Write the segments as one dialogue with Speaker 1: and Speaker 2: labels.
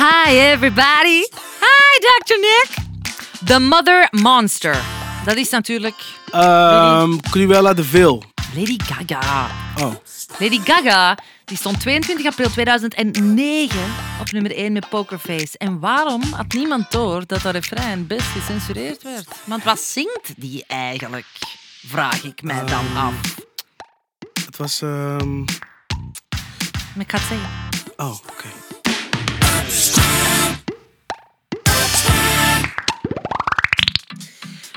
Speaker 1: Hi everybody. Hi Dr. Nick. The Mother Monster. Dat is natuurlijk oh,
Speaker 2: Ehm Cruella de Vil.
Speaker 1: Lady Gaga.
Speaker 2: Oh.
Speaker 1: Lady Gaga die stond 22 april 2009 op nummer 1 met Pokerface. En waarom had niemand door dat dat refrein best gecensureerd werd? Want wat zingt die eigenlijk? Vraag ik mij dan
Speaker 2: Oh.
Speaker 1: af.
Speaker 2: Het was. ehm
Speaker 1: Maar ik ga het zeggen.
Speaker 2: Oh, oké.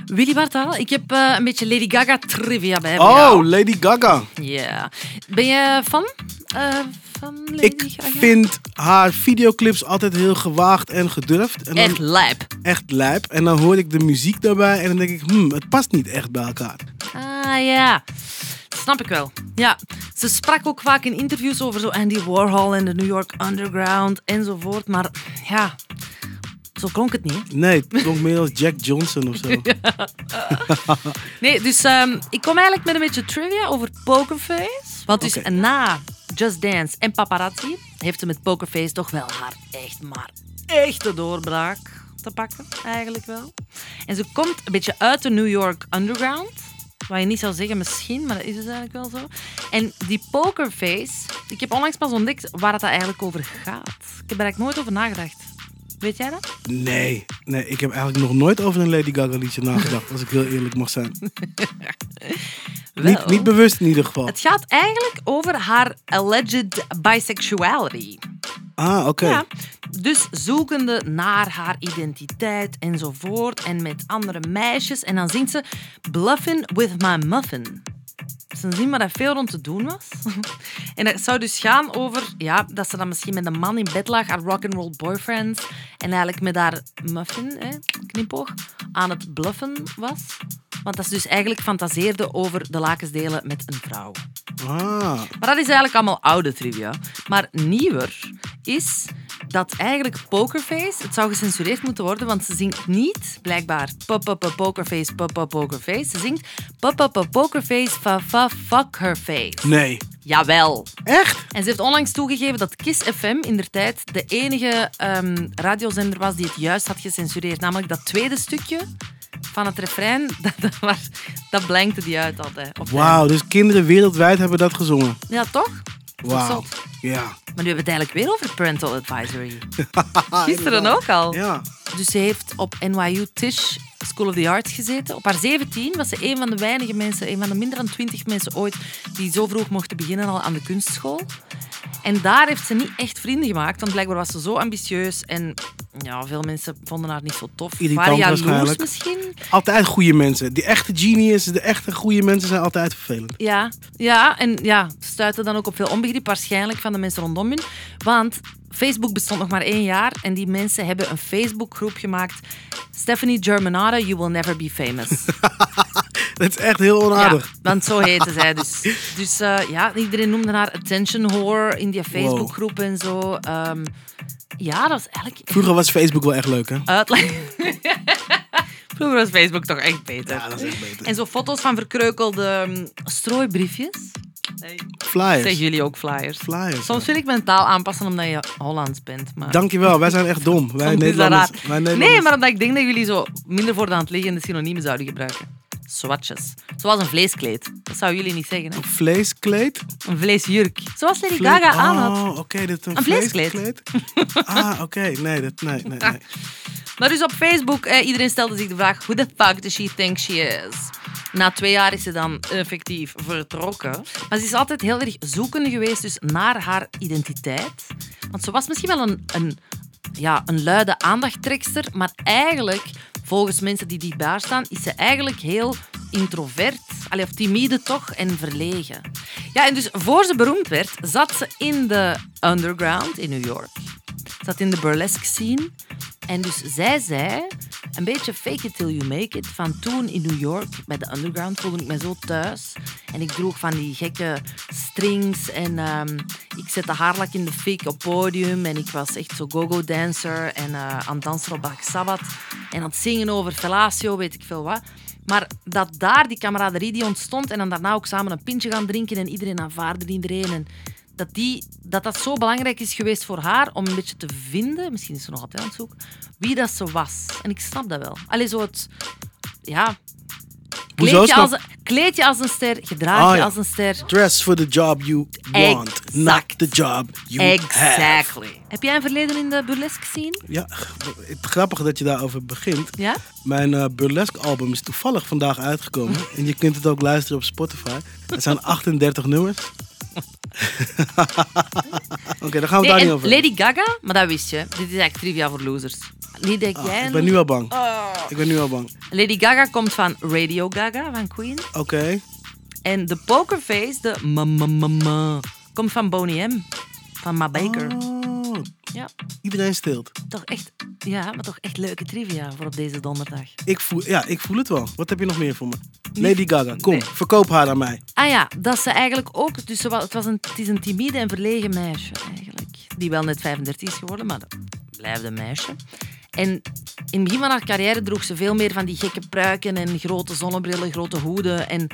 Speaker 1: Willy Bartal, ik heb eh, een beetje Lady Gaga trivia bij me.
Speaker 2: Oh, Lady Gaga.
Speaker 1: Ja. Ben je fan eh, van Lady
Speaker 2: Ik
Speaker 1: Gaga?
Speaker 2: vind haar videoclips altijd heel gewaagd en gedurfd. En dan
Speaker 1: Echt lijp.
Speaker 2: echt lijp. En dan hoor ik de muziek daarbij en dan denk ik, hmm, het past niet echt bij elkaar.
Speaker 1: Ah ja, Dat snap ik wel. Ja, ze sprak ook vaak in interviews over zo Andy Warhol en de New York Underground enzovoort. Maar ja, zo klonk het niet.
Speaker 2: Nee, het klonk meer als Jack Johnson of zo.
Speaker 1: Nee, dus ehm, ik kom eigenlijk met een beetje trivia over Pokerface. Want dus
Speaker 2: Oké.
Speaker 1: na Just Dance en Paparazzi heeft ze met Pokerface toch wel haar echt maar echte doorbraak te pakken, eigenlijk wel. En ze komt een beetje uit de New York Underground. Wat je niet zou zeggen misschien, maar dat is dus eigenlijk wel zo. En die Pokerface, ik heb onlangs pas ontdekt waar het eigenlijk over gaat. Ik heb er eigenlijk nooit over nagedacht. Weet jij dat?
Speaker 2: Nee, nee, ik heb eigenlijk nog nooit over een Lady Gaga liedje nagedacht, als ik heel eerlijk mag zijn. Niet,
Speaker 1: Wel.
Speaker 2: niet bewust in ieder geval.
Speaker 1: Het gaat eigenlijk over haar alleged bisexuality.
Speaker 2: Ah, oké.
Speaker 1: Ja. Dus zoekende naar haar identiteit enzovoort en met andere meisjes. En dan zingt ze Bluffin' with my muffin. Dus dan zien we dat veel rond te doen was. en dat zou dus gaan over ja, dat ze dan misschien met een man in bed lag, haar rock'n'roll boyfriend. En eigenlijk met haar muffin, hè, knipoog, aan het bluffen was. Want dat ze dus eigenlijk fantaseerde over de lakensdelen met een vrouw.
Speaker 2: Ah,
Speaker 1: Maar dat is eigenlijk allemaal oude trivia. Maar nieuwer is dat eigenlijk Pokerface, het zou gecensureerd moeten worden, want ze zingt niet, blijkbaar, papa Pokerface, papa Pokerface. Ze zingt papa Pokerface, fa fa fuck her face.
Speaker 2: nee.
Speaker 1: Jawel.
Speaker 2: Echt?
Speaker 1: En ze heeft onlangs toegegeven dat Kiss FM in der tijd de enige ehm, radiozender was die het juist had gecensureerd. Namelijk dat tweede stukje van het refrein, dat, dat, was- dat blankte die uit altijd. op het einde.
Speaker 2: Wauw, dus kinderen wereldwijd hebben dat gezongen.
Speaker 1: Ja, toch? Dat is toch
Speaker 2: Wauw.
Speaker 1: zot?
Speaker 2: Ja.
Speaker 1: Maar nu hebben we het eigenlijk weer over parental advisory. Gisteren
Speaker 2: Ah, inderdaad.
Speaker 1: ook al.
Speaker 2: Ja.
Speaker 1: Dus ze heeft op NYU Tisch School of the Arts gezeten. Op haar 17 was ze een van de weinige mensen, een van de minder dan 20 mensen ooit, die zo vroeg mochten beginnen al aan de kunstschool. En daar heeft ze niet echt vrienden gemaakt, want blijkbaar was ze zo ambitieus en ja, veel mensen vonden haar niet zo tof.
Speaker 2: Irritant
Speaker 1: Waren jaloers
Speaker 2: waarschijnlijk.
Speaker 1: misschien?
Speaker 2: Altijd goede mensen. Die echte geniussen, de echte goede mensen zijn altijd vervelend.
Speaker 1: Ja, ja en ja, stuitte dan ook op veel onbegrip waarschijnlijk van de mensen rondom hun. Want Facebook bestond nog maar één jaar en die mensen hebben een Facebookgroep gemaakt. Stephanie Germanata, You Will Never Be Famous.
Speaker 2: Dat is echt heel
Speaker 1: Ja,
Speaker 2: onaardig.
Speaker 1: want zo heette zij dus. Dus eh, ja, iedereen noemde haar attention whore in die Facebookgroep en zo. Ehm, ja, dat was eigenlijk
Speaker 2: Vroeger was Facebook wel echt leuk, hè?
Speaker 1: uitleg. Vroeger was Facebook toch echt beter.
Speaker 2: Ja, dat is echt beter.
Speaker 1: En zo foto's van verkreukelde ehm, strooibriefjes. Zeggen
Speaker 2: Flyers.
Speaker 1: jullie ook flyers?
Speaker 2: Flyers.
Speaker 1: Soms wil ik mijn taal aanpassen omdat je Hollands bent. Maar
Speaker 2: Dankjewel, wij zijn echt dom. Wij
Speaker 1: soms is dat
Speaker 2: eh, Nederlanders.
Speaker 1: raar.
Speaker 2: Wij Nederlanders.
Speaker 1: Nee, maar omdat ik denk dat jullie zo minder voor de hand liggende synoniemen zouden gebruiken. Swatches. Zoals een vleeskleed. Dat zouden jullie niet zeggen. Hè?
Speaker 2: Vleeskleed?
Speaker 1: Een vleesjurk. Zoals Lady
Speaker 2: Vlees-
Speaker 1: Gaga aan had.
Speaker 2: Oh, oké, dit is een,
Speaker 1: Een vleeskleed.
Speaker 2: vleeskleed? ah, oké. Nee, dat, nee, nee, nee.
Speaker 1: Maar dus op Facebook, eh, iedereen stelde zich de vraag... Who the fuck does she think she is? Na twee jaar is ze dan effectief vertrokken. Maar ze is altijd heel erg zoekende geweest dus naar haar identiteit. Want ze was misschien wel een, een, ja, een luide aandachttrekster. Maar eigenlijk, volgens mensen die dichtbij haar staan... is ze eigenlijk heel introvert. Allee, of timide toch, en verlegen. Ja, en dus voor ze beroemd werd, zat ze in de underground in New York zat in de burlesque scene. En dus zij zei, een beetje fake it till you make it, van toen in New York bij de underground voelde ik me zo thuis. En ik droeg van die gekke strings en ehm, ik zette haarlak in de fik op podium en ik was echt zo go-go dancer en eh, aan het dansen op Black Sabbath en aan het zingen over fellatio, weet ik veel wat. Maar dat daar die camaraderie die ontstond en dan daarna ook samen een pintje gaan drinken en iedereen aanvaarde iedereen en dat, die, dat dat zo belangrijk is geweest voor haar om een beetje te vinden, misschien is ze nog altijd aan het zoeken, wie dat ze was. En ik snap dat wel. Allee, zo het... Ja...
Speaker 2: Hoezo
Speaker 1: Kleed je,
Speaker 2: snap-
Speaker 1: als, een- kleed je als een ster, gedraag je
Speaker 2: Ah, ja.
Speaker 1: als een ster.
Speaker 2: Dress for the job you want,
Speaker 1: Exact.
Speaker 2: not the job you have.
Speaker 1: Exactly. Heb jij een verleden in de burlesque scene?
Speaker 2: Ja, het grappige dat je daarover begint.
Speaker 1: Ja?
Speaker 2: Mijn eh, burlesque album is toevallig vandaag uitgekomen. En je kunt het ook luisteren op Spotify. Het zijn 38 nummers. Oké, daar gaan we
Speaker 1: Nee,
Speaker 2: daar
Speaker 1: en
Speaker 2: niet over.
Speaker 1: Lady Gaga, maar dat wist je. Dit is eigenlijk trivia voor losers. Niet dat jij...
Speaker 2: Ah, ik
Speaker 1: een-
Speaker 2: ben nu al bang.
Speaker 1: Oh.
Speaker 2: Ik ben nu al bang.
Speaker 1: Lady Gaga komt van Radio Gaga, van Queen.
Speaker 2: Oké.
Speaker 1: En de pokerface, de ma ma ma ma, komt van Boney M. Van Ma Baker.
Speaker 2: Oh,
Speaker 1: Ja,
Speaker 2: iedereen stilt.
Speaker 1: toch echt, ja, maar toch echt leuke trivia voor op deze donderdag.
Speaker 2: Ik voel, ja, ik voel het wel. Wat heb je nog meer voor me? Lady Gaga, kom,
Speaker 1: Nee.
Speaker 2: verkoop haar aan mij.
Speaker 1: Ah ja, dat ze eigenlijk ook... Dus ze wa- het, was een, het is een timide en verlegen meisje eigenlijk. Die wel net 35 is geworden, maar dat blijft een meisje. En in het begin van haar carrière droeg ze veel meer van die gekke pruiken en grote zonnebrillen, grote hoeden. En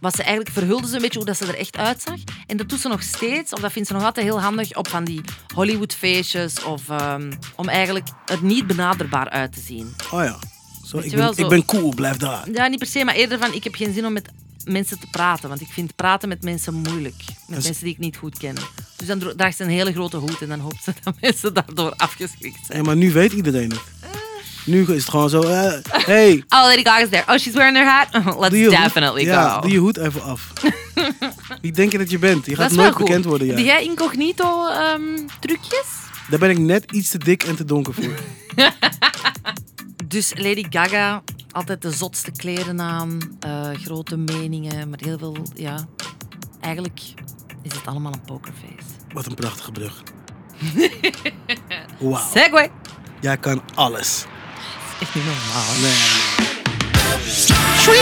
Speaker 1: was ze eigenlijk verhulde ze een beetje hoe dat ze er echt uitzag. En dat doet ze nog steeds, of dat vindt ze nog altijd heel handig, op van die Hollywoodfeestjes. Of ehm, om eigenlijk er niet benaderbaar uit te zien.
Speaker 2: Oh ja. Zo,
Speaker 1: je
Speaker 2: ik,
Speaker 1: wel,
Speaker 2: ben,
Speaker 1: zo-
Speaker 2: ik ben cool, blijf daar.
Speaker 1: Ja, niet per se, maar eerder van ik heb geen zin om met mensen te praten. Want ik vind praten met mensen moeilijk. Met
Speaker 2: is-
Speaker 1: mensen die ik niet goed ken. Dus dan dro- draagt ze een hele grote hoed en dan hoopt ze dat mensen daardoor afgeschrikt zijn.
Speaker 2: Ja, maar nu weet iedereen het.
Speaker 1: Eh.
Speaker 2: Nu is het gewoon zo. eh, hey,
Speaker 1: Oh, Lady Gaga's there. Oh, she's wearing her hat. Let's
Speaker 2: doe je,
Speaker 1: definitely
Speaker 2: hoed, ja,
Speaker 1: go.
Speaker 2: doe je hoed even af. Wie denk je dat je bent? Je
Speaker 1: dat
Speaker 2: gaat
Speaker 1: is wel
Speaker 2: nooit
Speaker 1: goed.
Speaker 2: bekend worden.
Speaker 1: Doe
Speaker 2: Jij.
Speaker 1: jij incognito ehm, trucjes?
Speaker 2: Daar ben ik net iets te dik en te donker voor.
Speaker 1: Dus Lady Gaga, altijd de zotste kleren aan, eh, grote meningen, maar heel veel, ja. Eigenlijk is het allemaal een pokerface.
Speaker 2: Wat een prachtige brug. Wauw.
Speaker 1: Segway!
Speaker 2: Jij kan alles.
Speaker 1: Echt niet normaal.
Speaker 2: Nee, nee,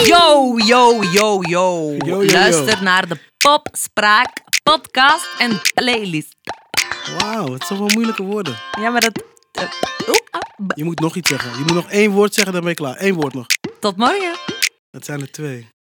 Speaker 2: nee.
Speaker 1: Yo, yo, yo, yo.
Speaker 2: Yo, yo, yo.
Speaker 1: Luister naar de Popspraak podcast en playlist.
Speaker 2: Wauw, het zijn wel moeilijke woorden.
Speaker 1: Ja, maar dat... eh, oeh, ah, b-
Speaker 2: Je moet nog iets zeggen. Je moet nog één woord zeggen, dan ben je klaar. Eén woord nog.
Speaker 1: Tot morgen.
Speaker 2: Dat zijn er twee.